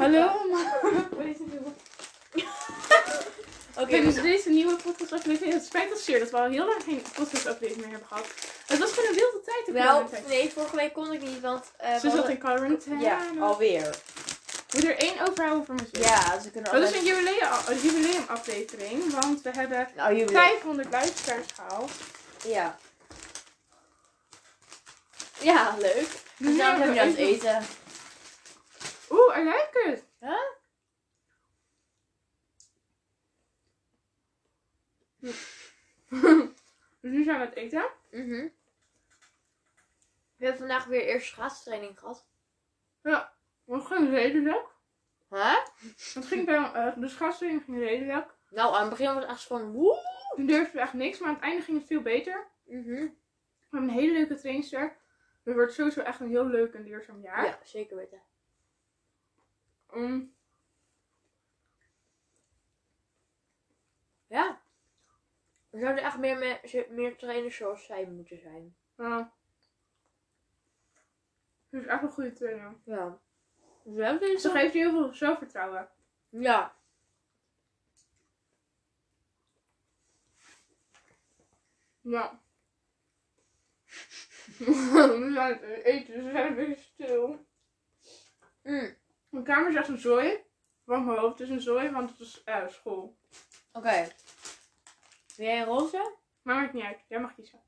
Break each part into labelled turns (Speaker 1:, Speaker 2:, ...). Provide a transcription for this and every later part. Speaker 1: Hallo?
Speaker 2: Oké,
Speaker 1: Oké,
Speaker 2: dus
Speaker 1: dus deze nieuwe podcastaflevering. Het spijt ons zeer dat we al heel lang geen podcastaflevering meer hebben gehad. Het was gewoon een wilde tijd. de
Speaker 2: nou,
Speaker 1: coronatijd.
Speaker 2: nee, vorige week kon ik niet, want... eh, we
Speaker 1: Ze zat
Speaker 2: hadden-
Speaker 1: in quarantaine.
Speaker 2: Ja, alweer.
Speaker 1: Moet er één overhouden voor mezelf.
Speaker 2: Ja, ze kunnen
Speaker 1: Dat is
Speaker 2: altijd...
Speaker 1: een jubileum, jubileum aflevering, want we hebben
Speaker 2: Nou, jullie...
Speaker 1: 500 luisteraars gehaald.
Speaker 2: Ja. Ja, leuk. Dus
Speaker 1: Nee,
Speaker 2: daarom zijn we nu aan het
Speaker 1: even-
Speaker 2: eten.
Speaker 1: Oeh, I like it.
Speaker 2: Huh?
Speaker 1: Dus nu zijn we aan het eten.
Speaker 2: Mhm. We hebben vandaag weer eerst schaatstraining gehad.
Speaker 1: Het ging redelijk.
Speaker 2: Hè?
Speaker 1: Het ging bij, eh, de schatsing ging redelijk.
Speaker 2: Nou, aan het begin was het echt van woe.
Speaker 1: Toen durfden we echt niks, maar aan het einde ging het veel beter.
Speaker 2: Mhm.
Speaker 1: We hebben een hele leuke trainster. Het wordt sowieso echt een heel leuk en leerzaam jaar.
Speaker 2: Ja, zeker weten.
Speaker 1: Mm.
Speaker 2: Ja. Er zouden echt meer, mensen- meer trainers zoals zij moeten zijn.
Speaker 1: Ja. Ze eh, is echt een goede trainer.
Speaker 2: Ja. Dus we hebben deze
Speaker 1: Ze geeft je heel veel zelfvertrouwen.
Speaker 2: Ja.
Speaker 1: Ja. we zijn aan het eten, dus we zijn een beetje stil.
Speaker 2: Mm.
Speaker 1: Mijn kamer is echt een zooi. Want mijn hoofd is een zooi, want het is eh, school.
Speaker 2: Oké. Wil jij een roze?
Speaker 1: Maar maakt niet uit, jij mag kiezen.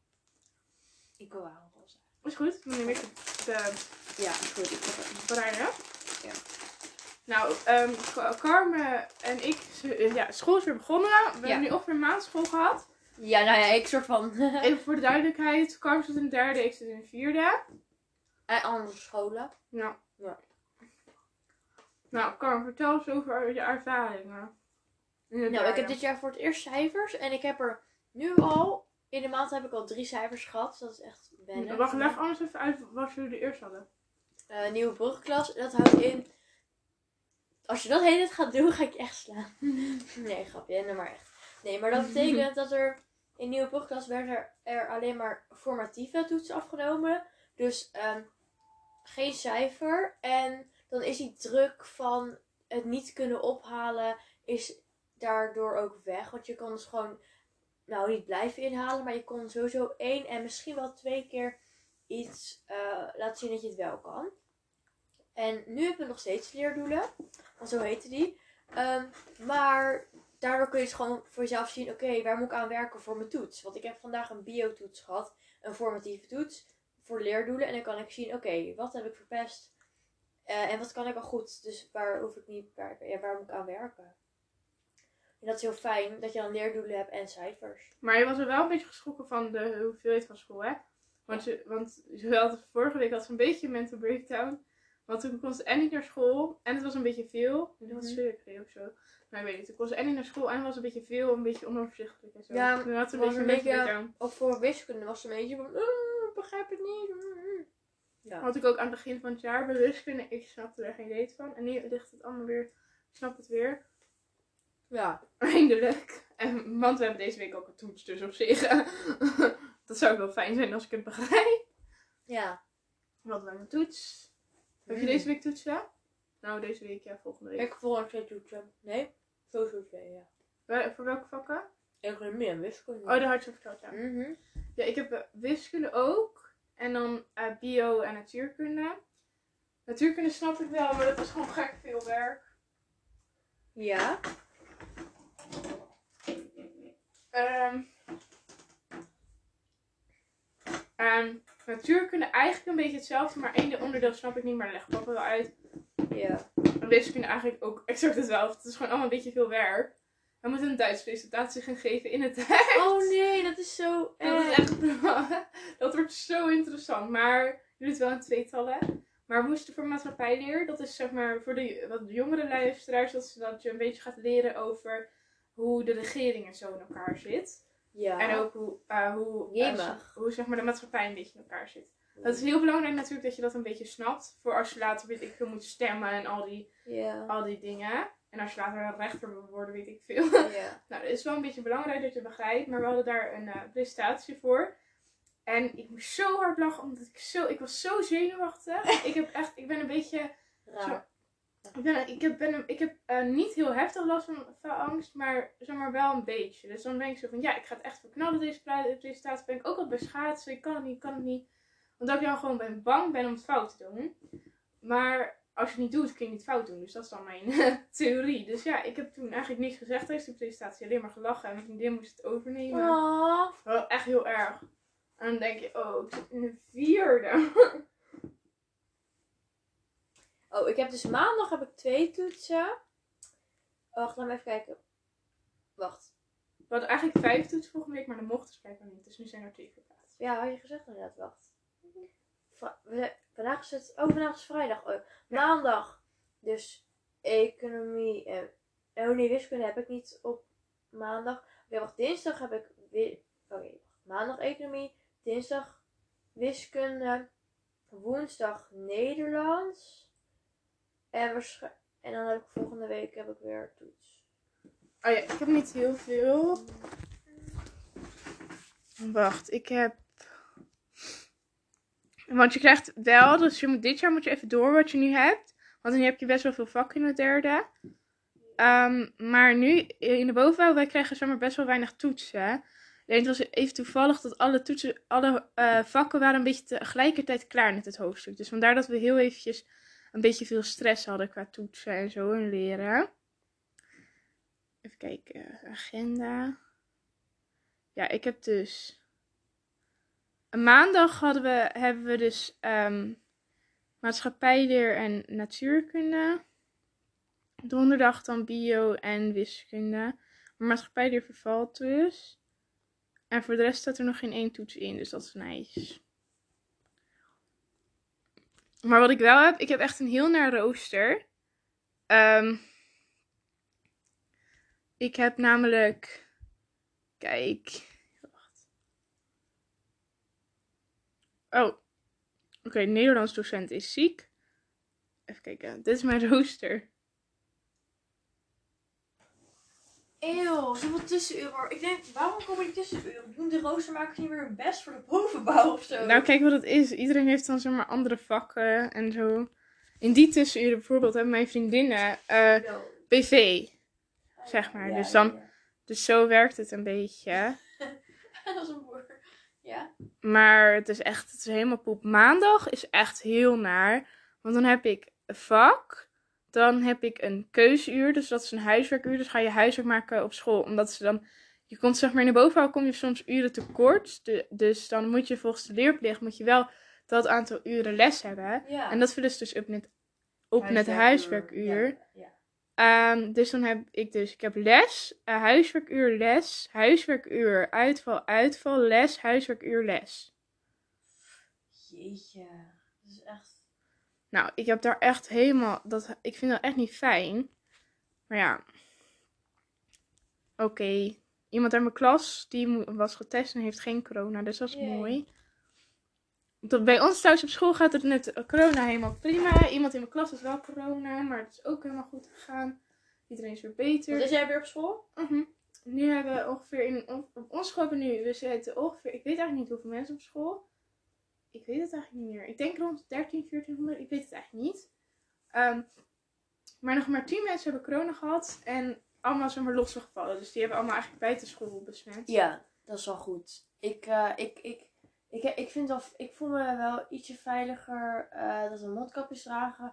Speaker 2: Ik wil wel een roze.
Speaker 1: Is goed, dan neem ik de- de
Speaker 2: Ja, goed. Ik heb het.
Speaker 1: bruine.
Speaker 2: Ja.
Speaker 1: Nou, ehm, Ka- Carmen en ik, ze- eh, ja, school is weer begonnen. We hebben nu ongeveer een maand school gehad.
Speaker 2: Ja, nou ja, ik soort van.
Speaker 1: Even voor de duidelijkheid, Carmen zit in de derde, ik zit in de vierde.
Speaker 2: En Eh, andere scholen.
Speaker 1: Nou.
Speaker 2: Ja.
Speaker 1: Nou, Karen, vertel eens over je ervaringen. In het
Speaker 2: Nou, ik heb
Speaker 1: derde.
Speaker 2: dit jaar voor het eerst cijfers. En ik heb er nu al. In de maand heb ik al drie cijfers gehad. dus Dat is echt wennen.
Speaker 1: Wacht, leg anders even uit wat jullie eerst hadden.
Speaker 2: Eh, nieuwe brugklas. Dat houdt in. Als je dat hele tijd gaat doen, ga ik je echt slaan. nee, grapje, nee, maar echt. Nee, maar dat betekent dat er in nieuwe brugklas werden er, er alleen maar formatieve toetsen afgenomen. Dus ehm, geen cijfer. En dan is die druk van het niet kunnen ophalen, is daardoor ook weg. Want je kan dus gewoon, nou niet blijven inhalen, maar je kon sowieso één en misschien wel twee keer iets eh, laten zien dat je het wel kan. En nu hebben we nog steeds leerdoelen, want zo heten die. Ehm, maar daardoor kun je dus gewoon voor jezelf zien, oké, waar moet ik aan werken voor mijn toets? Want ik heb vandaag een biotoets gehad, een formatieve toets voor leerdoelen. En dan kan ik zien, oké, wat heb ik verpest? Eh, en wat kan ik al goed? Dus waar hoef ik niet, waar, ja, waar moet ik aan werken? En dat is heel fijn dat je dan leerdoelen hebt en cijfers.
Speaker 1: Maar je was er wel een beetje geschrokken van de hoeveelheid van school, hè? Want, je, want je had, vorige week had ze een beetje een mental breakdown. Want toen kon ze en niet naar school, en het was een beetje veel. En toen had
Speaker 2: Mhm.
Speaker 1: ze weer of zo. Maar ik weet niet, toen kon ze en niet naar school, en het was een beetje veel, een beetje onoverzichtelijk en zo.
Speaker 2: Ja,
Speaker 1: toen had ze een
Speaker 2: was
Speaker 1: beetje een
Speaker 2: een
Speaker 1: mental
Speaker 2: beetje-
Speaker 1: breakdown.
Speaker 2: Ook voor wiskunde was het een beetje van, "Mm, begrijp het niet. mm." Ja.
Speaker 1: Had ik ook aan het begin van het jaar bij wiskunde. Ik snapte er geen reet van. En nu ligt het allemaal weer. Ik snap het weer.
Speaker 2: Ja.
Speaker 1: Eindelijk. En, want we hebben deze week ook een toets. Dus op zich. eh, dat zou ook wel fijn zijn als ik het begrijp.
Speaker 2: Ja.
Speaker 1: Wat een toets. Heb je
Speaker 2: Mm.
Speaker 1: deze week toetsen? Nou, deze week ja, volgende week.
Speaker 2: Ik voel een twee toetsen. Nee, sowieso twee, ja.
Speaker 1: Wel- voor welke vakken?
Speaker 2: Economie en wiskunde.
Speaker 1: Oh, de hartstikke verteld, ja.
Speaker 2: Mhm.
Speaker 1: Ja, ik heb eh, wiskunde ook. En dan eh, bio en natuurkunde. Natuurkunde snap ik wel, maar dat is gewoon gek veel werk.
Speaker 2: Ja.
Speaker 1: Ehm ehm, natuurkunde eigenlijk een beetje hetzelfde, maar één de onderdeel snap ik niet, maar dat legt papa wel uit.
Speaker 2: Ja.
Speaker 1: En wiskunde eigenlijk ook exact hetzelfde. Het is gewoon allemaal een beetje veel werk. We moeten een Duits presentatie gaan geven in het Duits.
Speaker 2: Oh nee, dat is zo
Speaker 1: Dat is
Speaker 2: erg.
Speaker 1: echt... dat wordt zo interessant. Maar je doet het wel in tweetallen. Maar we moesten voor maatschappijleer, dat is zeg maar voor de wat jongere luisteraars, dat, ze- dat je een beetje gaat leren over hoe de regering en zo in elkaar zit.
Speaker 2: Ja.
Speaker 1: En ook hoe, eh, hoe, eh,
Speaker 2: Jemig.
Speaker 1: hoe zeg maar, de maatschappij een beetje in elkaar zit. Dat is heel belangrijk natuurlijk dat je dat een beetje snapt. Voor als je later weet ik veel moet stemmen en al die,
Speaker 2: Ja.
Speaker 1: al die dingen. En als je later een rechter wil worden weet ik veel.
Speaker 2: Ja.
Speaker 1: nou, dat is wel een beetje belangrijk dat je begrijpt. Maar we hadden daar een eh, presentatie voor. En ik moest zo hard lachen omdat ik zo, ik was zo zenuwachtig. ik heb echt, ik ben een beetje
Speaker 2: Raar.
Speaker 1: Ik, ben, ik heb, ben, ik heb eh, niet heel heftig last van, van angst, maar zomaar wel een beetje. Dus dan denk ik zo van, ja, ik ga het echt verknallen deze pre- presentatie. Ben ik ook al beschaafd, ik kan het niet, ik kan het niet. Omdat ik dan gewoon ben bang ben om het fout te doen. Maar als je het niet doet, kun je het fout doen. Dus dat is dan mijn theorie. Dus ja, ik heb toen eigenlijk niks gezegd tijdens die presentatie. Alleen maar gelachen en mijn vriendin moest het overnemen.
Speaker 2: Oh,
Speaker 1: Wel echt heel erg. En dan denk je, oh, ik zit in de vierde.
Speaker 2: Oh, ik heb dus maandag heb ik twee toetsen. Wacht, laat me even kijken. Wacht.
Speaker 1: We hadden eigenlijk vijf toetsen volgende week, maar dat mochten ze blijkbaar niet. Dus nu zijn er twee verplaatst.
Speaker 2: Ja, had je gezegd inderdaad, wacht. Va- we- vandaag is het... Oh, vandaag is vrijdag. Oh, maandag. Dus economie en... Oh nee, wiskunde heb ik niet op maandag. Oké, wacht. Dinsdag heb ik... wi- Oké, wacht. Maandag economie. Dinsdag wiskunde. Woensdag Nederlands. En, waarsch- en dan heb ik volgende week heb ik weer toets.
Speaker 1: Oh ja, ik heb niet heel veel. Wacht, ik heb. Want je krijgt wel, dus je moet, dit jaar moet je even door wat je nu hebt. Want nu heb je best wel veel vakken in het derde. Ehm, maar nu in de bovenbouw, wij krijgen zomaar best wel weinig toetsen. Alleen het was even toevallig dat alle toetsen, alle eh, vakken waren een beetje tegelijkertijd klaar met het hoofdstuk. Dus vandaar dat we heel eventjes een beetje veel stress hadden qua toetsen en zo en leren. Even kijken, agenda. Ja, ik heb dus. Een maandag hadden we, hebben we dus ehm maatschappijleer en natuurkunde. Donderdag dan bio en wiskunde. Maar maatschappijleer vervalt dus. En voor de rest staat er nog geen één toets in, dus dat is nice. Maar wat ik wel heb, ik heb echt een heel naar rooster. Ehm ik heb namelijk. Kijk. Wacht. Oh. Oké, Nederlands docent is ziek. Even kijken. Dit is mijn rooster.
Speaker 2: Eeuw, zoveel tussenuren. Ik denk, waarom komen die tussenuren? Doen de roostermakers niet meer hun best voor de bovenbouw of zo?
Speaker 1: Nou, kijk wat het is. Iedereen heeft dan zeg maar andere vakken en zo. In die tussenuren bijvoorbeeld hebben mijn vriendinnen eh, BV. zeg maar, dus dan- Dus zo werkt het een beetje.
Speaker 2: Dat is een boer. Ja.
Speaker 1: Maar het is echt, het is helemaal poep. Maandag is echt heel naar. Want dan heb ik een vak. Dan heb ik een keuzeuur. Dus dat is een huiswerkuur. Dus ga je huiswerk maken op school. Omdat ze dan. Je komt zeg maar in de bovenbouw kom je soms uren tekort. Du- Dus dan moet je volgens de leerplicht moet je wel dat aantal uren les hebben.
Speaker 2: ja.
Speaker 1: En dat vullen ze dus op met, op met huiswerkuur.
Speaker 2: Ja.
Speaker 1: Ehm, dus dan heb ik dus, ik heb les, eh, huiswerkuur, les, huiswerkuur, uitval, uitval, les, huiswerkuur, les.
Speaker 2: Jeetje. Dat is echt...
Speaker 1: Nou, ik heb daar echt helemaal, dat, ik vind dat echt niet fijn. Maar ja. Oké. Iemand uit mijn klas, die mo- was getest en heeft geen corona, dus dat is
Speaker 2: Yay.
Speaker 1: mooi. Dat bij ons thuis op school gaat het met corona helemaal prima. Iemand in mijn klas had wel corona, maar het is ook helemaal goed gegaan. Iedereen is weer beter.
Speaker 2: Wat is jij weer op school?
Speaker 1: Mhm. Nu hebben we ongeveer in on- op ons school hebben we nu, we zitten ongeveer, ik weet eigenlijk niet hoeveel mensen op school. Ik weet het eigenlijk niet meer. Ik denk rond 13, 1400, ik weet het eigenlijk niet. Ehm, maar nog maar 10 mensen hebben corona gehad en allemaal zijn maar losse gevallen. Dus die hebben allemaal eigenlijk buiten school besmet.
Speaker 2: Ja, dat is wel goed. Ik, eh, ik, ik, ik, eh, ik, vind wel, ik voel me wel ietsje veiliger eh, dat we mondkapjes dragen.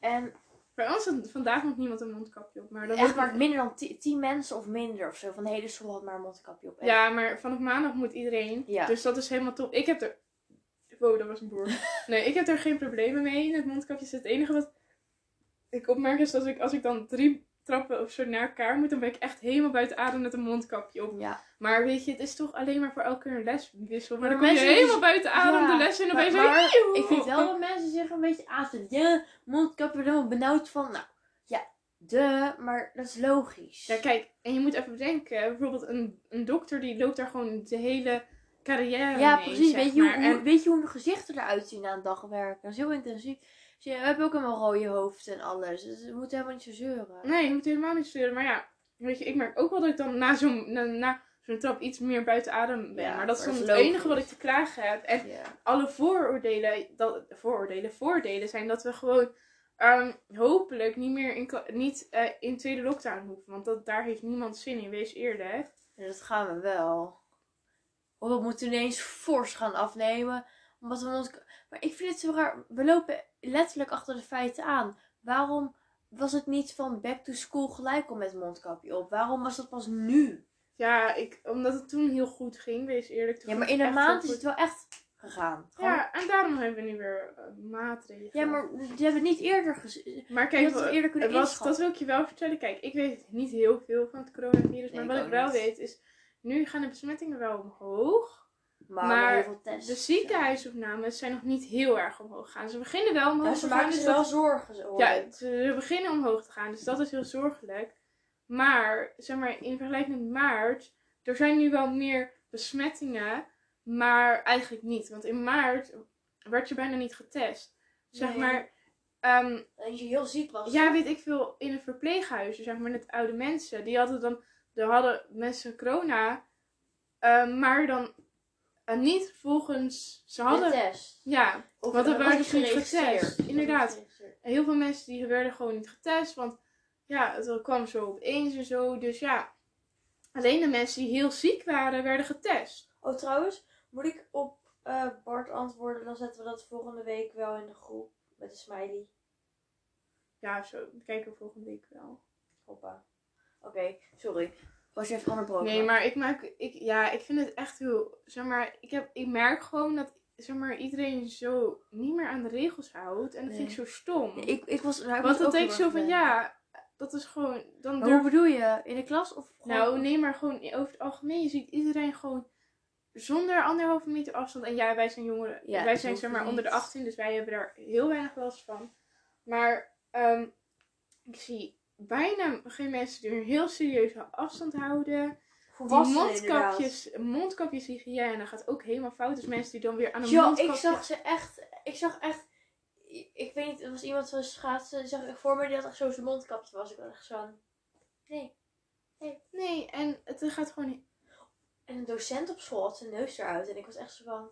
Speaker 2: En
Speaker 1: Bij ons had vandaag nog niemand een mondkapje op. Maar dat
Speaker 2: echt
Speaker 1: wordt-
Speaker 2: maar minder dan ti- tien mensen of minder of zo. Van de hele school had maar een mondkapje op. En-
Speaker 1: Ja, maar vanaf maandag moet iedereen.
Speaker 2: Ja.
Speaker 1: Dus dat is helemaal top. Ik heb er. Wow, dat was een boer. Nee, ik heb er geen problemen mee. In het mondkapje is het enige wat ik opmerk is dat ik, als ik dan drie trappen of zo naar elkaar moet, dan ben ik echt helemaal buiten adem met een mondkapje op.
Speaker 2: ja.
Speaker 1: Maar weet je, het is toch alleen maar voor elke keer een leswissel. Maar
Speaker 2: Maar
Speaker 1: dan kom je
Speaker 2: mensen die-
Speaker 1: helemaal buiten adem
Speaker 2: Ja,
Speaker 1: de les in en dan ben
Speaker 2: maar-
Speaker 1: je zo...
Speaker 2: maar
Speaker 1: "Joehoe."
Speaker 2: Ik vind wel dat mensen zich een beetje aanzetten. Ja, mondkapje, er helemaal benauwd van. Nou, ja, de, maar dat is logisch.
Speaker 1: Ja, kijk, en je moet even bedenken, bijvoorbeeld een, een dokter die loopt daar gewoon de hele carrière
Speaker 2: ja,
Speaker 1: mee,
Speaker 2: precies.
Speaker 1: zeg
Speaker 2: Weet je, hoe,
Speaker 1: maar.
Speaker 2: hoe-
Speaker 1: En-
Speaker 2: weet je hoe de gezichten eruit zien aan dagwerken? Dat is heel intensief. Dus je hebt ook helemaal rode hoofd en alles. Dus je moet helemaal niet zo zeuren.
Speaker 1: Nee, je moet helemaal niet sturen. Maar ja, weet je, ik merk ook wel dat ik dan na zo'n na, na zo'n trap iets meer buiten adem ben.
Speaker 2: Ja,
Speaker 1: maar dat is
Speaker 2: maar
Speaker 1: dan
Speaker 2: dat
Speaker 1: het
Speaker 2: is logisch.
Speaker 1: enige wat ik te klagen heb. En
Speaker 2: Ja.
Speaker 1: alle vooroordelen, dat, vooroordelen, voordelen zijn dat we gewoon ehm, hopelijk niet meer in, ka- niet, eh, in tweede lockdown hoeven. Want dat, daar heeft niemand zin in, wees eerlijk.
Speaker 2: En dat gaan we wel. Of we moeten ineens fors gaan afnemen. Omdat we ons... Maar ik vind het zo raar. We lopen letterlijk achter de feiten aan. Waarom was het niet van back to school gelijk al met mondkapje op? Waarom was dat pas nu?
Speaker 1: Ja, ik, omdat het toen heel goed ging, wees eerlijk. Toen
Speaker 2: Ja, maar
Speaker 1: ging
Speaker 2: in een
Speaker 1: het echt
Speaker 2: maand is
Speaker 1: heel
Speaker 2: het wel echt gegaan.
Speaker 1: goed.
Speaker 2: Gewoon-
Speaker 1: Ja, en daarom hebben we nu weer eh, maatregelen.
Speaker 2: ja, maar die hebben we niet eerder gezien.
Speaker 1: Maar
Speaker 2: Dat
Speaker 1: kijk,
Speaker 2: we eerder kunnen
Speaker 1: Het was,
Speaker 2: inschatten.
Speaker 1: dat wil ik je wel vertellen. Kijk, ik weet niet heel veel van het coronavirus. maar
Speaker 2: Nee, ik
Speaker 1: wat ik
Speaker 2: ook
Speaker 1: wel
Speaker 2: niet.
Speaker 1: weet is, nu gaan de besmettingen wel omhoog.
Speaker 2: Maar,
Speaker 1: maar
Speaker 2: heel veel tests.
Speaker 1: De ziekenhuisopnames zijn nog niet heel erg omhoog gegaan. Ze beginnen wel omhoog
Speaker 2: Ja,
Speaker 1: te
Speaker 2: ze
Speaker 1: gaan.
Speaker 2: maken
Speaker 1: Dus
Speaker 2: zich wel
Speaker 1: dat,
Speaker 2: zorgen. hoor
Speaker 1: ja,
Speaker 2: ik.
Speaker 1: ze beginnen omhoog te gaan. Dus dat is heel zorgelijk. Maar, zeg maar, in vergelijking met maart, er zijn nu wel meer besmettingen. Maar eigenlijk niet. Want in maart werd je bijna niet getest. Zeg
Speaker 2: Nee.
Speaker 1: maar, ehm,
Speaker 2: Dat je heel ziek was.
Speaker 1: ja, weet ik veel, in een verpleeghuis, zeg maar met oude mensen, die hadden dan, er hadden mensen corona, eh, maar dan eh, niet volgens, ze
Speaker 2: De
Speaker 1: hadden,
Speaker 2: test.
Speaker 1: ja,
Speaker 2: Of
Speaker 1: Want dan
Speaker 2: eh,
Speaker 1: waren
Speaker 2: was
Speaker 1: ze niet
Speaker 2: geregistreerd.
Speaker 1: getest. Inderdaad.
Speaker 2: Geregistreerd.
Speaker 1: heel veel mensen die werden gewoon niet getest, want ja, het kwam zo opeens en zo, dus ja, alleen de mensen die heel ziek waren, werden getest.
Speaker 2: Oh, trouwens, moet ik op eh, Bart antwoorden? Dan zetten we dat volgende week wel in de groep. Met een smiley.
Speaker 1: Ja, zo, we kijken we volgende week wel.
Speaker 2: Hoppa. Oké, sorry. Was je even onderbroken?
Speaker 1: Nee, maar ik maak, ik, ja, ik vind het echt heel, zeg maar, ik, heb, ik merk gewoon dat, zeg maar, iedereen zo niet meer aan de regels houdt en dat vind ik zo stom.
Speaker 2: Nee, Ik, ik was... Nou, ik
Speaker 1: Want
Speaker 2: was
Speaker 1: dan
Speaker 2: ook
Speaker 1: denk ik
Speaker 2: heel
Speaker 1: zo
Speaker 2: erg
Speaker 1: van,
Speaker 2: blij.
Speaker 1: ja, dat is gewoon, dan
Speaker 2: Maar
Speaker 1: durf...
Speaker 2: hoe bedoel je? In de klas of gewoon-
Speaker 1: Nou, nee, maar gewoon over het algemeen, je ziet iedereen gewoon zonder anderhalve meter afstand. En ja, wij zijn jongeren,
Speaker 2: Ja,
Speaker 1: wij
Speaker 2: dat
Speaker 1: zijn
Speaker 2: hoeft
Speaker 1: zeg maar onder de
Speaker 2: niet.
Speaker 1: 18, dus wij hebben daar heel weinig last van. Maar ehm, ik zie bijna geen mensen die een heel serieuze afstand houden. Die
Speaker 2: Volwassenen inderdaad.
Speaker 1: mondkapjes, mondkapjeshygiëne gaat ook helemaal fout. Dus mensen die dan weer aan een
Speaker 2: Ja,
Speaker 1: mondkapje...
Speaker 2: ik zag ze echt. Ik zag echt. ik- Ik weet niet, er was iemand van schaatsen. Die zag ik voor me die had echt zo zijn mondkapje. Was ik had echt zo'n. Nee.
Speaker 1: Nee, en het gaat gewoon...
Speaker 2: En een docent op school had zijn neus eruit. En ik was echt zo van.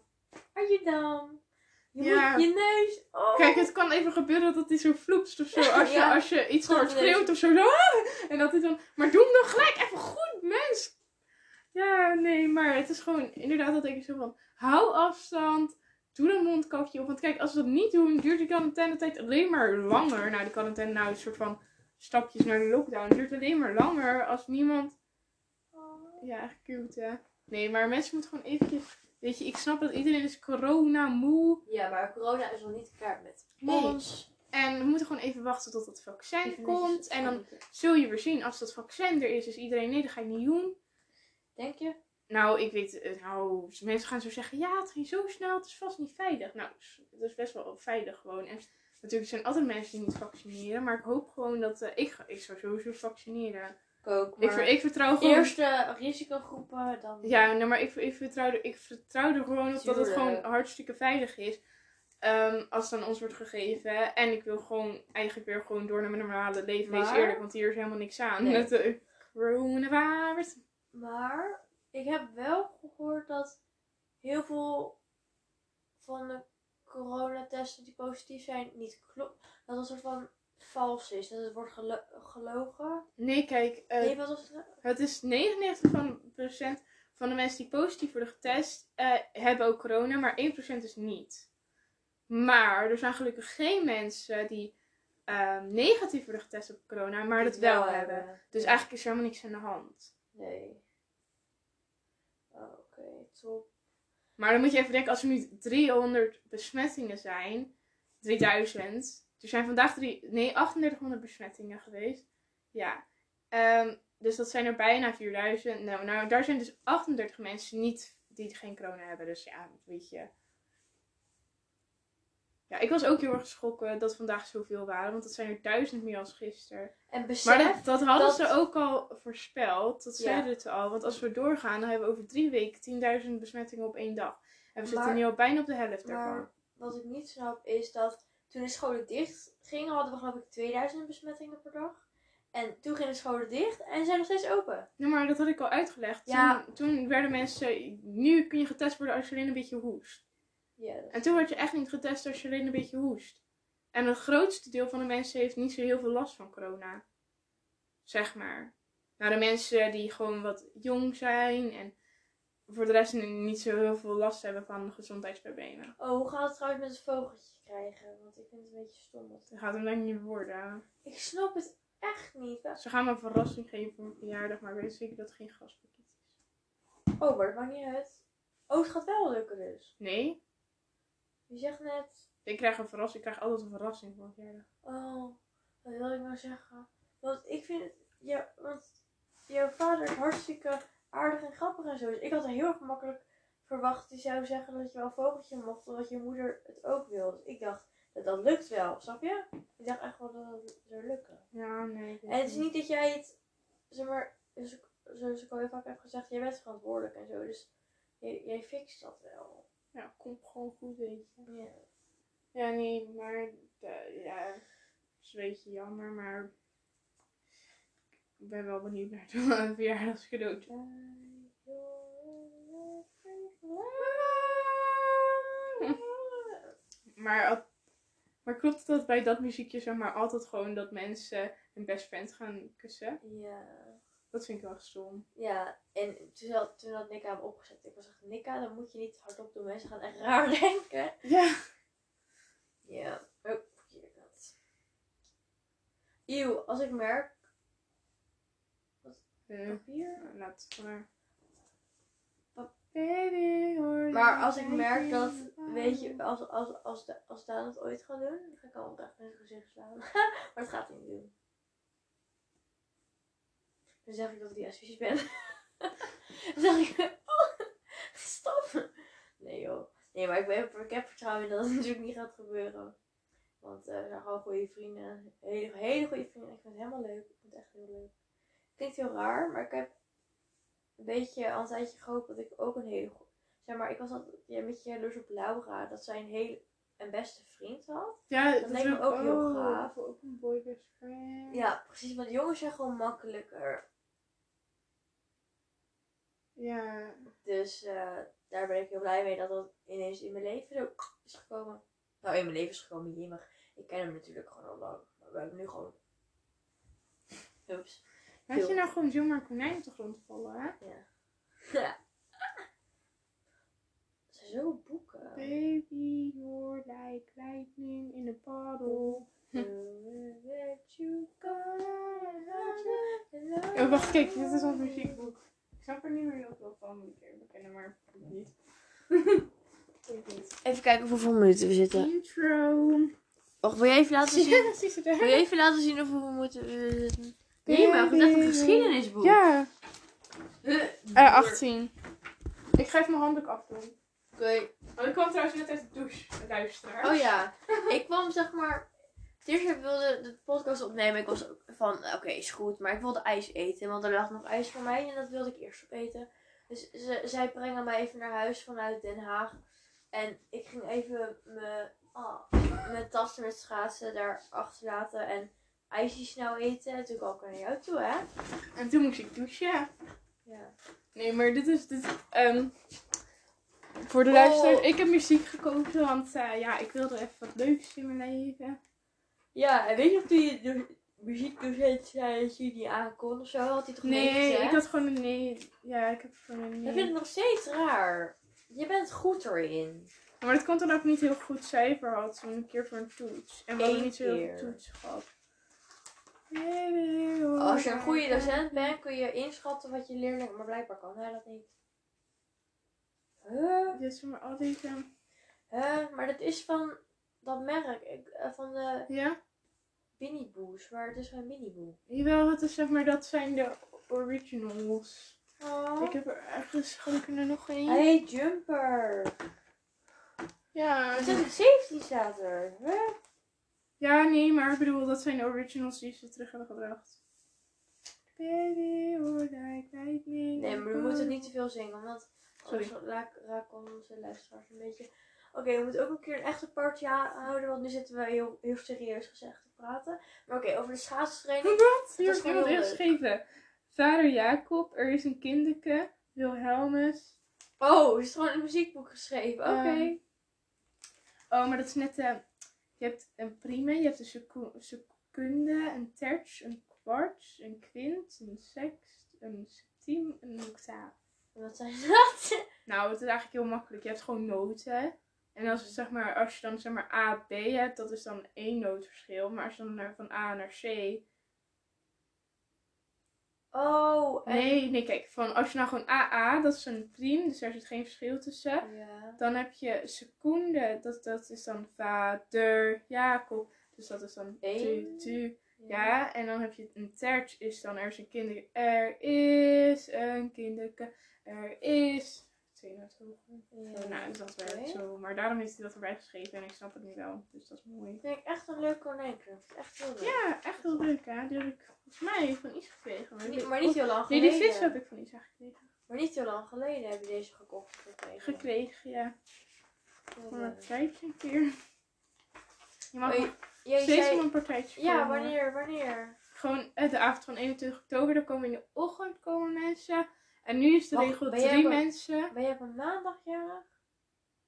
Speaker 2: Are you dumb? Je
Speaker 1: Ja.
Speaker 2: moet je neus. Oh.
Speaker 1: Kijk, het kan even gebeuren dat hij zo vloepst of zo. Als je,
Speaker 2: Ja.
Speaker 1: als je iets
Speaker 2: Dat
Speaker 1: hoort
Speaker 2: is-
Speaker 1: schreeuwt of zo. zo, "Ah!" En dat hij dan... Maar doe hem dan gelijk even goed, mens! Ja, nee, maar het is gewoon... Inderdaad, dat denk ik zo van... Hou afstand. Doe een mondkapje op. Want kijk, als we dat niet doen, duurt die quarantainetijd alleen maar langer. Nou, die quarantaine nou een soort van stapjes naar de lockdown. Duurt alleen maar langer als niemand... Ja, echt cute, hè? Nee, maar mensen moeten gewoon eventjes... Weet je, ik snap dat iedereen is corona moe.
Speaker 2: Ja, maar corona is nog niet klaar met
Speaker 1: Nee.
Speaker 2: ons.
Speaker 1: En we moeten gewoon even wachten tot het vaccin
Speaker 2: Even
Speaker 1: komt.
Speaker 2: netjes
Speaker 1: En dan
Speaker 2: afspreken.
Speaker 1: zul je weer zien, als dat vaccin er is, is iedereen... Nee, dat ga ik niet doen.
Speaker 2: Denk je?
Speaker 1: Nou, ik weet... eh, Nou, mensen gaan zo zeggen... Ja, het ging zo snel, het is vast niet veilig. Nou, het is best wel veilig gewoon. En natuurlijk zijn er altijd mensen die niet vaccineren. Maar ik hoop gewoon dat... eh, ik, ga, ik zou sowieso vaccineren.
Speaker 2: Ik ook.
Speaker 1: Ik,
Speaker 2: Maar
Speaker 1: ver- ik vertrouw gewoon...
Speaker 2: Eerst de risicogroepen, dan.
Speaker 1: Ja, nee, maar ik, ik, vertrouw er, ik vertrouw er gewoon op dat het gewoon
Speaker 2: Tuurlijk.
Speaker 1: hartstikke veilig is. Ehm, als het aan ons wordt gegeven. En ik wil gewoon eigenlijk weer gewoon door naar mijn normale leven. Wees
Speaker 2: Maar-
Speaker 1: eerlijk, want hier is helemaal niks aan.
Speaker 2: Nee.
Speaker 1: Met de coronavirus.
Speaker 2: Maar ik heb wel gehoord dat heel veel van de coronatesten die positief zijn niet klopt. Dat het soort van vals is. Dat het wordt gelo- gelogen.
Speaker 1: Nee, kijk. eh,
Speaker 2: nee, wat was het?
Speaker 1: het is 99% van de mensen die positief worden getest eh, hebben ook corona. Maar 1% is niet. Maar er zijn gelukkig geen mensen die ehm, negatief worden getest op corona. Maar dat wel hebben. Dus eigenlijk is er helemaal niks aan de hand.
Speaker 2: Nee. Oh, Oké, top.
Speaker 1: Maar dan moet je even denken, als er nu 300 besmettingen zijn, 3000. Er zijn vandaag drie, nee, 3800 besmettingen geweest. Ja. Ehm, dus dat zijn er bijna 4000. Nou, nou, daar zijn dus 38 mensen niet die geen corona hebben. Dus ja, weet je. Ja, ik was ook heel erg geschrokken dat vandaag zoveel waren. Want dat zijn er duizend meer als gisteren.
Speaker 2: En besef.
Speaker 1: Maar dat, dat hadden
Speaker 2: dat-
Speaker 1: ze ook al voorspeld. Dat
Speaker 2: Ja.
Speaker 1: zeiden ze al. Want als we doorgaan, dan hebben we over drie weken 10.000 besmettingen op één dag. En we zitten
Speaker 2: Maar-
Speaker 1: nu al bijna op de helft daarvan.
Speaker 2: Maar wat ik niet snap is dat toen de scholen dicht gingen, hadden we geloof ik 2000 besmettingen per dag. En toen gingen de scholen dicht en ze zijn nog steeds open.
Speaker 1: Nee, maar dat had ik al uitgelegd.
Speaker 2: Ja.
Speaker 1: Toen, toen werden mensen... Nu kun je getest worden als je alleen een beetje hoest.
Speaker 2: Ja, dat-
Speaker 1: En toen werd je echt niet getest als je alleen een beetje hoest. En het grootste deel van de mensen heeft niet zo heel veel last van corona. Zeg maar. Nou, de mensen die gewoon wat jong zijn en voor de rest niet zo heel veel last hebben van gezondheidsproblemen.
Speaker 2: Oh, hoe gaat het trouwens met het vogeltje krijgen? Want ik vind het een beetje stom. dat-
Speaker 1: Dat gaat hem denk ik niet worden.
Speaker 2: Ik snap het echt niet. Wa-
Speaker 1: Ze gaan me een verrassing geven voor mijn verjaardag, maar ik weet zeker dat het geen gaspakket is.
Speaker 2: Oh, maar dat maakt niet uit. Oh, het gaat wel lukken dus.
Speaker 1: Nee,
Speaker 2: Je zegt net...
Speaker 1: ik krijg een verrassing. Ik krijg altijd een verrassing voor mijn verjaardag.
Speaker 2: Oh, wat wil ik nou zeggen? Want ik vind... het- Ja, want jouw vader is hartstikke aardig en grappig en zo. Dus ik had heel erg makkelijk verwacht. Die zou zeggen dat je wel een vogeltje mocht. Omdat je moeder het ook wil. Dus ik dacht, dat, dat lukt wel. Snap je? Ik dacht echt wel dat dat zou lukken.
Speaker 1: Ja, nee. ik weet
Speaker 2: En het is niet dat jij het, zeg maar, dus- zoals ik al heel vaak heb gezegd, jij bent verantwoordelijk en zo. Dus jij, jij fixt dat wel.
Speaker 1: Ja, komt gewoon goed, weet je.
Speaker 2: Ja.
Speaker 1: Ja, nee, maar eh, ja, het is een beetje jammer, maar ik ben wel benieuwd naar het verjaardagscadeautje. Maar, al- maar klopt het dat bij dat muziekje zeg maar altijd gewoon dat mensen hun best friend gaan kussen?
Speaker 2: Ja.
Speaker 1: Dat vind ik wel stom.
Speaker 2: Ja, en toen had, toen had Nika hem opgezet. Ik was echt, Nika, dat moet je niet hardop doen. Mensen gaan echt raar denken.
Speaker 1: Ja.
Speaker 2: Ja. Oh, verkeerde kant. Eeuw, als ik merk...
Speaker 1: Eh,
Speaker 2: Papier?
Speaker 1: laat het maar. Baby, hoor je
Speaker 2: Maar als ik
Speaker 1: mij
Speaker 2: merk dat,
Speaker 1: zingen?
Speaker 2: weet je, als, als, als, Da- als Daan het ooit gaat doen, dan ga ik hem ook echt in zijn gezicht slaan. maar dat gaat hij niet doen. Dan zeg ik dat ik lesbisch ben. dan zeg ik, oh, stop. Nee joh. Nee, maar ik, ben, ik heb vertrouwen in dat het natuurlijk niet gaat gebeuren. Want eh, we zijn gewoon goede vrienden. Hele, hele goede vrienden. Ik vind het helemaal leuk. Ik vind het echt heel leuk. Klinkt heel raar, maar ik heb een beetje al een tijdje gehoopt dat ik ook een hele goede... Zeg maar, ik was altijd ja, een beetje jaloers op Laura. Dat zij een hele een beste vriend had.
Speaker 1: Ja,
Speaker 2: dat lijkt me
Speaker 1: wil ik
Speaker 2: ook heel gaaf.
Speaker 1: Ik wil Ook een Oh, boy best friend.
Speaker 2: Ja, precies. Want jongens zijn gewoon makkelijker.
Speaker 1: Ja,
Speaker 2: Dus eh, daar ben ik heel blij mee dat dat ineens in mijn leven zo is gekomen. Nou, in mijn leven is gekomen, jemig. Ik ken hem natuurlijk gewoon al lang. Maar we hebben nu gewoon... Oeps.
Speaker 1: Laat je
Speaker 2: Heel.
Speaker 1: nou gewoon zomaar een konijn op de grond vallen, hè?
Speaker 2: Ze zijn zo boeken.
Speaker 1: Baby, you're like lightning in a bottle. Oh, wacht, kijk, dit is ons muziekboek. Ik snap er niet meer heel veel van, moet ik eerlijk bekennen, maar ik niet. Ik niet.
Speaker 2: Even kijken hoeveel minuten we zitten.
Speaker 1: Intro.
Speaker 2: Och, wil je even laten
Speaker 1: Zie
Speaker 2: zien?
Speaker 1: je, zie ze daar?
Speaker 2: Wil je even laten zien of hoeveel minuten we zitten?
Speaker 1: Nee, maar
Speaker 2: goed,
Speaker 1: het is echt een geschiedenisboek. Ja, eh, 18. Ik ga even mijn handdoek afdoen.
Speaker 2: Oké.
Speaker 1: Oh, ik kwam trouwens net uit de douche, luisteraar.
Speaker 2: Oh ja, ik kwam zeg maar. Tirsa wilde de podcast opnemen. Ik was ook van, oké, is goed. Maar ik wilde ijs eten, want er lag nog ijs voor mij. En dat wilde ik eerst opeten. Dus ze, zij brengen mij even naar huis vanuit Den Haag. En ik ging even mijn, ah, mijn tassen met schaatsen daar achter laten. En ijsjes snel eten. En toen kwam ik naar jou toe, hè?
Speaker 1: En toen moest ik douchen.
Speaker 2: Ja.
Speaker 1: Nee, maar dit is. Dit, ehm, voor de
Speaker 2: Oh.
Speaker 1: luisteraars, ik heb muziek gekozen, want eh, ja, ik wilde even wat leuks in mijn leven.
Speaker 2: Ja, en weet je of die do- muziekdocent zei dat je niet aankon of zo? Had hij toch
Speaker 1: Nee,
Speaker 2: gezegd?
Speaker 1: ik had gewoon een nee. Ja, ik heb gewoon een
Speaker 2: Ik vind
Speaker 1: nee.
Speaker 2: het nog steeds raar. Je bent goed erin.
Speaker 1: Maar dat komt dan ook niet heel goed cijfer had, toen een keer voor een toets. En we hadden
Speaker 2: Eén
Speaker 1: niet zo heel veel
Speaker 2: keer.
Speaker 1: toets gehad. Baby, hoor
Speaker 2: Oh, Als je een goede
Speaker 1: mij
Speaker 2: docent bent, kun je inschatten wat je leerling... Maar blijkbaar kan hij dat niet. Huh?
Speaker 1: Dit is maar al deze.
Speaker 2: Huh? Maar dat is van dat merk. Ik, eh, van de
Speaker 1: Ja?
Speaker 2: Miniboos. Maar het is geen Miniboe.
Speaker 1: Jawel, het is zeg maar, dat zijn de originals.
Speaker 2: Oh.
Speaker 1: Ik heb er ergens, gewoon ik er nog één.
Speaker 2: Hey, Jumper.
Speaker 1: Ja,
Speaker 2: 2017 staat er. Huh?
Speaker 1: Ja, nee, maar ik bedoel, dat zijn de originals die ze terug hebben gebracht. Baby, hoor like lightning.
Speaker 2: Nee, maar we moeten niet te veel zingen, want
Speaker 1: Ehm. Sorry.
Speaker 2: anders raak- raken onze luisteraars een beetje. Oké, we moeten ook een keer een echte partje ha- houden, want nu zitten we heel, heel serieus gezegd te praten. Maar oké, over de schaatstraining.
Speaker 1: Wat? Hier
Speaker 2: is
Speaker 1: is
Speaker 2: gewoon
Speaker 1: iemand
Speaker 2: heel leuk.
Speaker 1: ingeschreven. Vader Jacob, er is een kinderke. Wilhelmus.
Speaker 2: Oh, er is gewoon een muziekboek geschreven. Oké.
Speaker 1: Ehm, oh, maar dat is net de Je hebt een prime, je hebt een seco- secunde, een terts, een kwarts, een quint, een sext, een septiem, een octaaf.
Speaker 2: Wat zijn dat?
Speaker 1: Nou, het is eigenlijk heel makkelijk. Je hebt gewoon noten. En als, het, zeg maar, als je dan zeg maar A, B hebt, dat is dan één nootverschil. Maar als je dan naar- van A naar C.
Speaker 2: Oh, en...
Speaker 1: Nee, nee, kijk, van als je nou gewoon AA, dat is een priem, dus daar zit geen verschil tussen.
Speaker 2: Ja.
Speaker 1: Dan heb je seconde, dat, dat is dan vader, Jacob. Dus dat is dan tu,
Speaker 2: Eén.
Speaker 1: tu. Ja, en dan heb je een terts, is dan er is een kinder. Er is een kinderke. Er is. Twee noten hoger.
Speaker 2: Ja.
Speaker 1: Nou, dat werkt
Speaker 2: Oké.
Speaker 1: zo. Maar daarom heeft hij dat erbij geschreven en ik snap het nu wel. Dus dat is mooi.
Speaker 2: Vind ik echt een leuk konijnkracht. Echt heel leuk.
Speaker 1: Ja, echt heel leuk hè. Die heb ik volgens mij van iets gekregen. Maar, ik
Speaker 2: Niet-
Speaker 1: weet-
Speaker 2: maar niet heel lang
Speaker 1: Nee,
Speaker 2: geleden.
Speaker 1: die vis heb ik van iets gekregen.
Speaker 2: Maar niet heel lang geleden heb je deze gekocht. Gekregen.
Speaker 1: Gekregen, ja. Van
Speaker 2: Ja.
Speaker 1: een partijtje een keer. Je mag
Speaker 2: Oh,
Speaker 1: nog
Speaker 2: Jij
Speaker 1: steeds
Speaker 2: zei...
Speaker 1: van een partijtje
Speaker 2: Ja,
Speaker 1: komen.
Speaker 2: wanneer, wanneer?
Speaker 1: Gewoon eh, de avond van 21 oktober. Dan komen in de ochtend komen mensen. En nu is de
Speaker 2: Wacht,
Speaker 1: regel
Speaker 2: ben jij
Speaker 1: drie
Speaker 2: maar-
Speaker 1: mensen.
Speaker 2: Ben jij op een maandag jarig?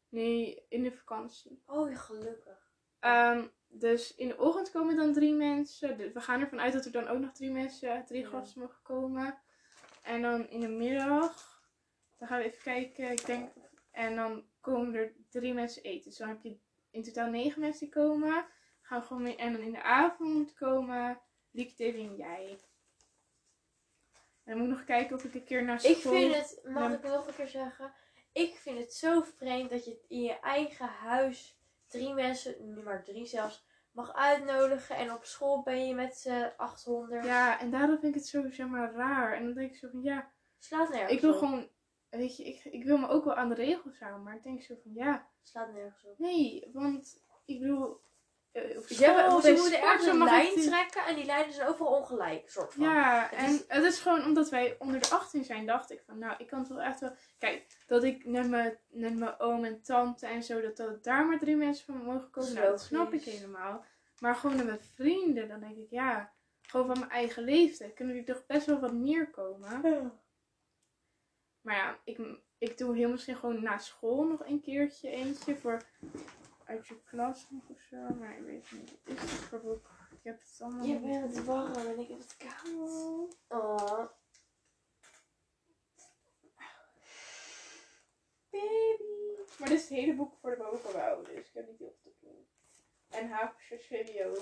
Speaker 1: Nee, in de vakantie.
Speaker 2: Oh, ja, gelukkig.
Speaker 1: Ehm, dus in de ochtend komen dan drie mensen. Dus we gaan ervan uit dat er dan ook nog drie mensen, drie
Speaker 2: Ja.
Speaker 1: gasten mogen komen. En dan in de middag, dan gaan we even kijken. Ik denk, en dan komen er drie mensen eten. Dus dan heb je in totaal negen mensen die komen. Gaan we gewoon mee, en dan in de avond komen Lieke, Davy en jij. En dan moet ik nog kijken of ik een keer naar school...
Speaker 2: Ik vind het, mag
Speaker 1: dan-
Speaker 2: ik het nog een keer zeggen? Ik vind het zo vreemd dat je in je eigen huis drie mensen, nu maar drie zelfs, mag uitnodigen. En op school ben je met z'n 800.
Speaker 1: Ja, en daarom vind ik het zo zeg maar, raar. En dan denk ik zo van, ja...
Speaker 2: Slaat nergens
Speaker 1: Ik wil
Speaker 2: op.
Speaker 1: gewoon, weet je, ik, ik wil me ook wel aan de regels houden, maar ik denk zo van ja,
Speaker 2: Slaat nergens op.
Speaker 1: nee, want ik bedoel, eh, op
Speaker 2: Ze, hebben,
Speaker 1: school,
Speaker 2: ze
Speaker 1: bij
Speaker 2: moeten
Speaker 1: sport,
Speaker 2: ergens
Speaker 1: zo
Speaker 2: een
Speaker 1: mag
Speaker 2: lijn
Speaker 1: het-
Speaker 2: trekken en die lijnen zijn overal ongelijk, soort van.
Speaker 1: Ja,
Speaker 2: Het
Speaker 1: en
Speaker 2: is-
Speaker 1: het is gewoon omdat wij onder de 18 zijn, dacht ik van nou, ik kan het wel echt wel. Kijk, dat ik met mijn, met mijn oom en tante en zo, dat, dat daar maar drie mensen van mogen
Speaker 2: Dat
Speaker 1: komen,
Speaker 2: is
Speaker 1: nou, dat snap ik
Speaker 2: logisch.
Speaker 1: helemaal. Maar gewoon met mijn vrienden, dan denk ik ja, gewoon van mijn eigen leeftijd, kunnen die toch best wel wat meer komen. Maar ja, ik, ik doe heel misschien gewoon na school nog een keertje eentje voor uit je klas nog of zo. Maar ik weet niet. Wat is het voor boek? Ik heb het allemaal
Speaker 2: Je
Speaker 1: niet.
Speaker 2: bent warm en ik heb het koud. Oh.
Speaker 1: Baby. Maar dit is het hele boek voor de bovenbouw, dus ik heb niet heel veel te doen. En Haakse video.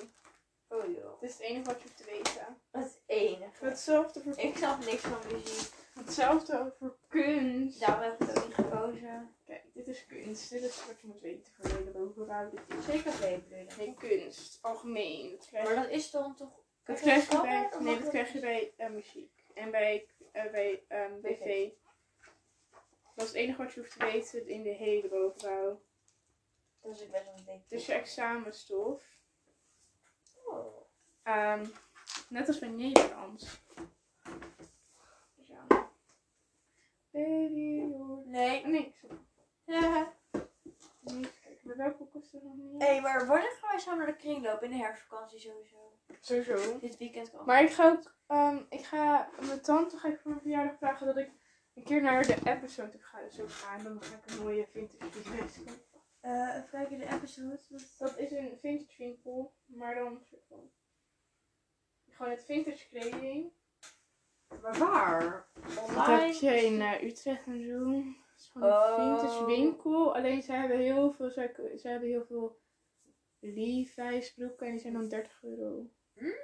Speaker 2: Oh joh.
Speaker 1: Dit is het enige wat je hoeft te weten.
Speaker 2: Dat is enige.
Speaker 1: Hetzelfde voor,
Speaker 2: Ik snap niks van muziek.
Speaker 1: hetzelfde voor kunst.
Speaker 2: Daarom heb ik het ook niet gekozen.
Speaker 1: Kijk, dit is kunst. Dit is wat je moet weten voor de hele bovenbouw. Dit is
Speaker 2: Zeker weebleden.
Speaker 1: geen kunst, algemeen. Dat krijg je
Speaker 2: Maar dat is dan toch...
Speaker 1: Dat
Speaker 2: Krijg
Speaker 1: krijg
Speaker 2: je
Speaker 1: je
Speaker 2: standaard
Speaker 1: bij,
Speaker 2: of
Speaker 1: nee,
Speaker 2: mag
Speaker 1: dat
Speaker 2: dat
Speaker 1: krijg je bij eh, muziek. En bij, eh, bij ehm, BV. Dat is het enige wat je hoeft te weten in de hele bovenbouw.
Speaker 2: Dat is best wel een beetje...
Speaker 1: Dus je examenstof.
Speaker 2: Oh.
Speaker 1: Ehm, net als bij Nederlands. Ja. Baby, hoor.
Speaker 2: Nee.
Speaker 1: Niks.
Speaker 2: Ja.
Speaker 1: Niks. Kijk, Bij welke kost het nog niet?
Speaker 2: Hé, hey, maar wanneer gaan wij samen naar de kring lopen? In de herfstvakantie sowieso.
Speaker 1: Sowieso.
Speaker 2: Dit weekend kan.
Speaker 1: Maar ik ga ook, ehm, ik ga, mijn tante ga ik voor mijn verjaardag vragen dat ik een keer naar de episode toe ga. Dus ook ga en dan ga ik een mooie vintage vintage kopen.
Speaker 2: Eh, even kijken de episode.
Speaker 1: Dat is een vintage winkel, maar dan een soort van- gewoon het vintage kleding.
Speaker 2: Maar waar?
Speaker 1: Dat je in
Speaker 2: Online?
Speaker 1: eh, Utrecht en zo. Dat is gewoon
Speaker 2: Oh.
Speaker 1: een vintage winkel. Alleen zij hebben heel veel, zij, zij hebben heel veel Levi's broeken en die zijn dan 30 euro.
Speaker 2: Mm.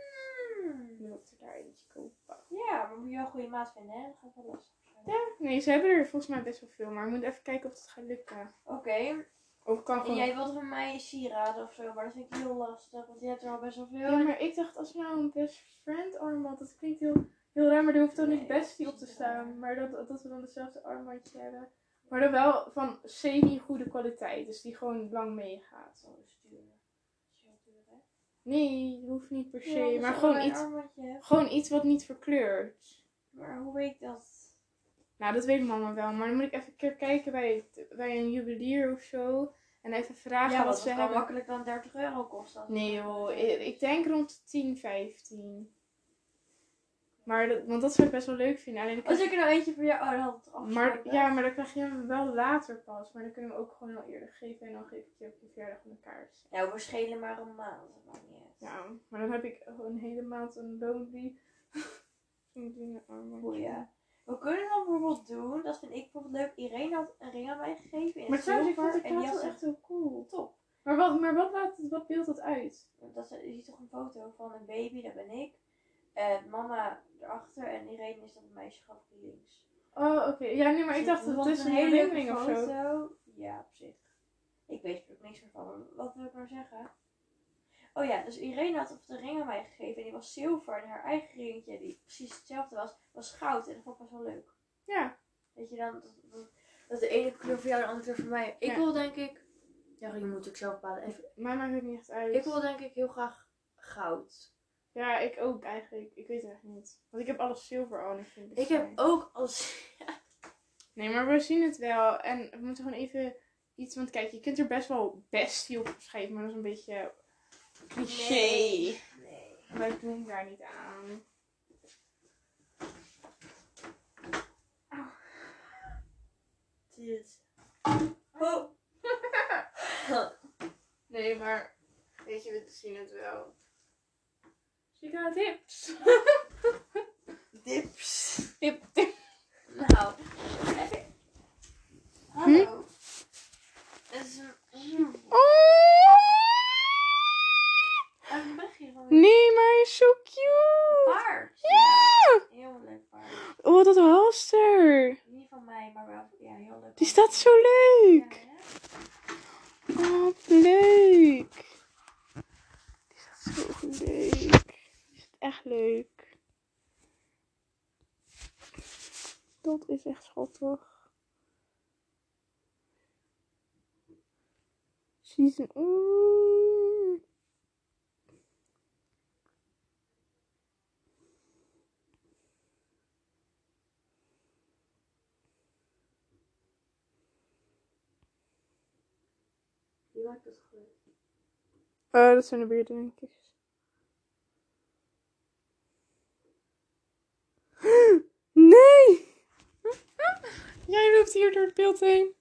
Speaker 1: Nu wil ik er daar eentje kopen.
Speaker 2: Ja, maar moet je wel een goede maat vinden, hè? Dat gaat wel lastig zijn.
Speaker 1: Nee, ze hebben er volgens mij best wel veel, maar we moeten even kijken of het gaat lukken.
Speaker 2: Oké,
Speaker 1: Of ik kan
Speaker 2: en
Speaker 1: gewoon
Speaker 2: jij wilde van mij sieraden of zo, maar dat vind ik heel lastig, want je hebt er al best wel veel.
Speaker 1: Ja, maar ik dacht als je nou een best friend armband, dat klinkt heel, heel raar, maar er hoeft dan niet
Speaker 2: Nee,
Speaker 1: bestie
Speaker 2: dat
Speaker 1: op
Speaker 2: is
Speaker 1: te
Speaker 2: niet
Speaker 1: staan.
Speaker 2: raar.
Speaker 1: Maar dat, dat we dan hetzelfde armbandje hebben. Maar dan wel van semi-goede kwaliteit, dus die gewoon lang meegaat.
Speaker 2: Oh, dat is duur. Dat is heel duur, hè?
Speaker 1: Nee, hoeft niet per se,
Speaker 2: Ja, dat is
Speaker 1: maar
Speaker 2: wel
Speaker 1: gewoon
Speaker 2: een
Speaker 1: iets,
Speaker 2: armbandje hebt.
Speaker 1: gewoon iets wat niet verkleurt.
Speaker 2: Maar hoe weet ik dat?
Speaker 1: Nou, dat weet mama wel, maar dan moet ik even een keer kijken bij, het- bij een juwelier of zo. En even vragen
Speaker 2: ja,
Speaker 1: wat
Speaker 2: dat
Speaker 1: ze
Speaker 2: kan
Speaker 1: hebben.
Speaker 2: makkelijk dan 30 euro kosten.
Speaker 1: Nee joh, ik, ik denk rond de 10, 15. Maar dat, want dat zou ik best wel leuk vinden. Alleen,
Speaker 2: Als ik er nou eentje voor jou... Oh, dan had het
Speaker 1: maar,
Speaker 2: afgesproken.
Speaker 1: ja, maar dan krijg je hem wel later pas. Maar dan kunnen we ook gewoon al eerder geven. En dan geef ik je op je verjaardag een kaars.
Speaker 2: Nou, we schelen maar een maand. Dat maakt niet uit.
Speaker 1: Ja, maar dan heb ik een hele maand een lonely. Zo'n dingen armbandje.
Speaker 2: Boeien. We kunnen dan bijvoorbeeld doen, dat vind ik bijvoorbeeld leuk. Irene had een ring aan mij gegeven in
Speaker 1: Maar trouwens, ik vond
Speaker 2: zilver
Speaker 1: het
Speaker 2: en die
Speaker 1: plaat
Speaker 2: had
Speaker 1: wel
Speaker 2: echt
Speaker 1: echt heel cool.
Speaker 2: top.
Speaker 1: Maar wat, maar wat, laat, wat beeldt dat uit?
Speaker 2: Dat, is- je ziet toch een foto van een baby, dat ben ik. En mama erachter en Irene is dat meisje gaf links.
Speaker 1: Oh, oké. Ja, nee, maar ik
Speaker 2: Dus
Speaker 1: dacht dat
Speaker 2: vond
Speaker 1: het is
Speaker 2: het
Speaker 1: een
Speaker 2: leuke
Speaker 1: herinnering of zo.
Speaker 2: foto. Ja, op zich. Ik weet er ook niks meer van. maar Wat wil ik nou zeggen? Oh ja, dus Irene had op de ring aan mij gegeven en die was zilver. En haar eigen ringetje, die precies hetzelfde was, was goud. En dat vond ik best wel leuk.
Speaker 1: Ja.
Speaker 2: Weet je dan, dat, dat- dat de ene kleur voor jou en de andere kleur voor mij. Ik
Speaker 1: Ja.
Speaker 2: wil denk ik, ja, je moet ik zelf bepalen. Even-
Speaker 1: Mij maakt het niet echt uit.
Speaker 2: Ik wil denk ik heel graag goud.
Speaker 1: Ja, ik ook eigenlijk. Ik weet het eigenlijk niet. Want ik heb alles zilver al en ik vind het
Speaker 2: Ik
Speaker 1: saai.
Speaker 2: heb ook als.
Speaker 1: Nee, maar we zien het wel. En we moeten gewoon even iets... Want kijk, je kunt er best wel bestie op schrijven. Maar dat is een beetje cliché.
Speaker 2: Nee. Nee.
Speaker 1: Wij doen daar niet aan.
Speaker 2: Dit. Oh.
Speaker 1: Nee, maar weet je, we zien het wel. Chica tips.
Speaker 2: Dips.
Speaker 1: Tip, tip.
Speaker 2: Nou. Even. Hallo. Het is een.
Speaker 1: Oh!
Speaker 2: Oh, Een berichtje van een
Speaker 1: Nee, maar hij is zo cute.
Speaker 2: paard.
Speaker 1: Ja.
Speaker 2: Heel leuk paard.
Speaker 1: Oh, dat halster.
Speaker 2: Niet van mij, maar wel. Ja, heel leuk.
Speaker 1: Die staat zo leuk.
Speaker 2: Ja, hè?
Speaker 1: Oh, wat leuk. Die staat zo leuk. Die is echt leuk. Dat is echt schattig. Season. Oeh.
Speaker 2: Die maakt het goed. Eh,
Speaker 1: Oh, dat zijn de buurten, denk ik. Nee! Jij loopt hier door het beeld heen.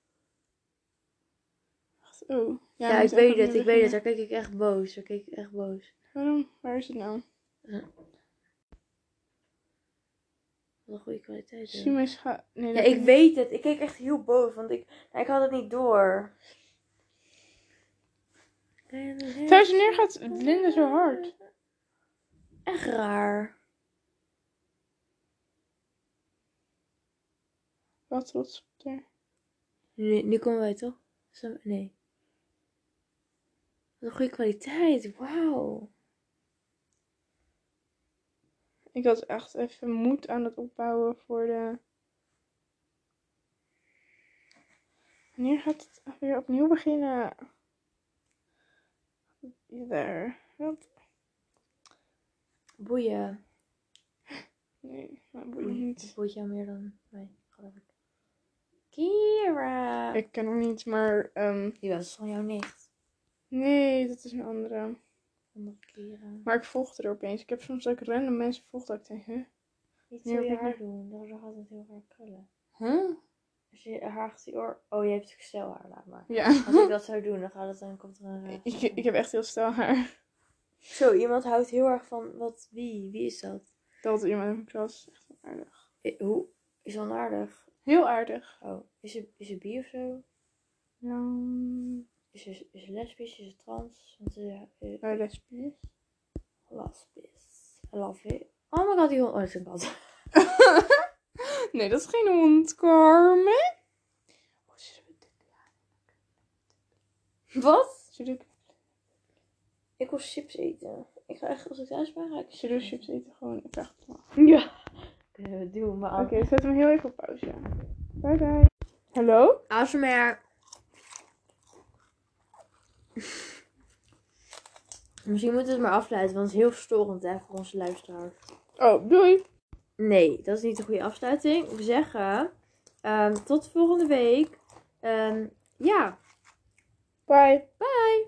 Speaker 1: Wacht, oh.
Speaker 2: Ja,
Speaker 1: we
Speaker 2: ik
Speaker 1: moeten
Speaker 2: weet
Speaker 1: even
Speaker 2: het, ik
Speaker 1: weer
Speaker 2: weet
Speaker 1: weg.
Speaker 2: het. Daar keek ik echt boos. Daar keek ik echt boos.
Speaker 1: Waarom? Waar is het nou?
Speaker 2: Wat een goede kwaliteit.
Speaker 1: Zie mijn scha... Nee,
Speaker 2: Ja,
Speaker 1: dat
Speaker 2: ik
Speaker 1: kan
Speaker 2: weet het. Ik keek echt heel boos, want ik, nou, ik had het niet door.
Speaker 1: niet. Thuis neer gaat Linda zo hard.
Speaker 2: Echt raar.
Speaker 1: Wat trots op haar.
Speaker 2: Nu, nu komen wij toch? Zo- Nee. Wat een goede kwaliteit. Wauw.
Speaker 1: Ik had echt even moed aan het opbouwen voor de... Wanneer gaat het weer opnieuw beginnen? Daar. Wat?
Speaker 2: Boeien.
Speaker 1: Nee, dat boeit niet.
Speaker 2: Boeit jou meer dan mij, geloof ik. Kira.
Speaker 1: Ik ken hem niet, maar... ehm,
Speaker 2: Die was van jouw nicht.
Speaker 1: nee, dat is een andere.
Speaker 2: Andere Kira.
Speaker 1: Maar ik volgde er opeens. Ik heb soms ook random mensen volgd dat ik denk, huh?
Speaker 2: Niet
Speaker 1: Nee,
Speaker 2: zo
Speaker 1: ik
Speaker 2: je
Speaker 1: weet
Speaker 2: haar
Speaker 1: niet.
Speaker 2: doen. Dan gaat het heel raar krullen.
Speaker 1: Huh?
Speaker 2: Als je haar achter je oor... Oh, je hebt stel haar, laat maar.
Speaker 1: Ja.
Speaker 2: Als ik dat nou?" zou doen, dan gaat het dan komt er een raar
Speaker 1: Ik, ik heb echt heel stel haar.
Speaker 2: Zo, iemand houdt heel erg van wat, wie, wie is dat?
Speaker 1: Dat iemand in mijn klas. Echt aardig.
Speaker 2: I- hoe, is onaardig.
Speaker 1: Heel aardig.
Speaker 2: Oh, is ze, is ze bi of zo?
Speaker 1: Ja.
Speaker 2: Is ze, is ze lesbisch, is ze trans? Want ze eh,
Speaker 1: Nou, lesbisch.
Speaker 2: lesbisch. I love it. Oh my god, die hond. Oh, dat is een kat.
Speaker 1: Nee, dat is geen hond, Carmen. Oh, zullen we dit-
Speaker 2: Wat?
Speaker 1: Zullen we-
Speaker 2: Ik wil chips eten. Ik ga echt, als ik thuis ben, ga ik
Speaker 1: zullen we chips eten? Gewoon, ik vraag het maar.
Speaker 2: Ja. Kunnen we doen, maar...
Speaker 1: Oké, zet hem heel even op pauze. Bye bye. Hallo?
Speaker 2: ASMR. Misschien moeten we het maar afsluiten, want het is heel verstorend hè, voor onze luisteraars.
Speaker 1: Oh, doei.
Speaker 2: Nee, dat is niet de goede afsluiting. We zeggen ehm, tot volgende week. Ehm, ja.
Speaker 1: Bye.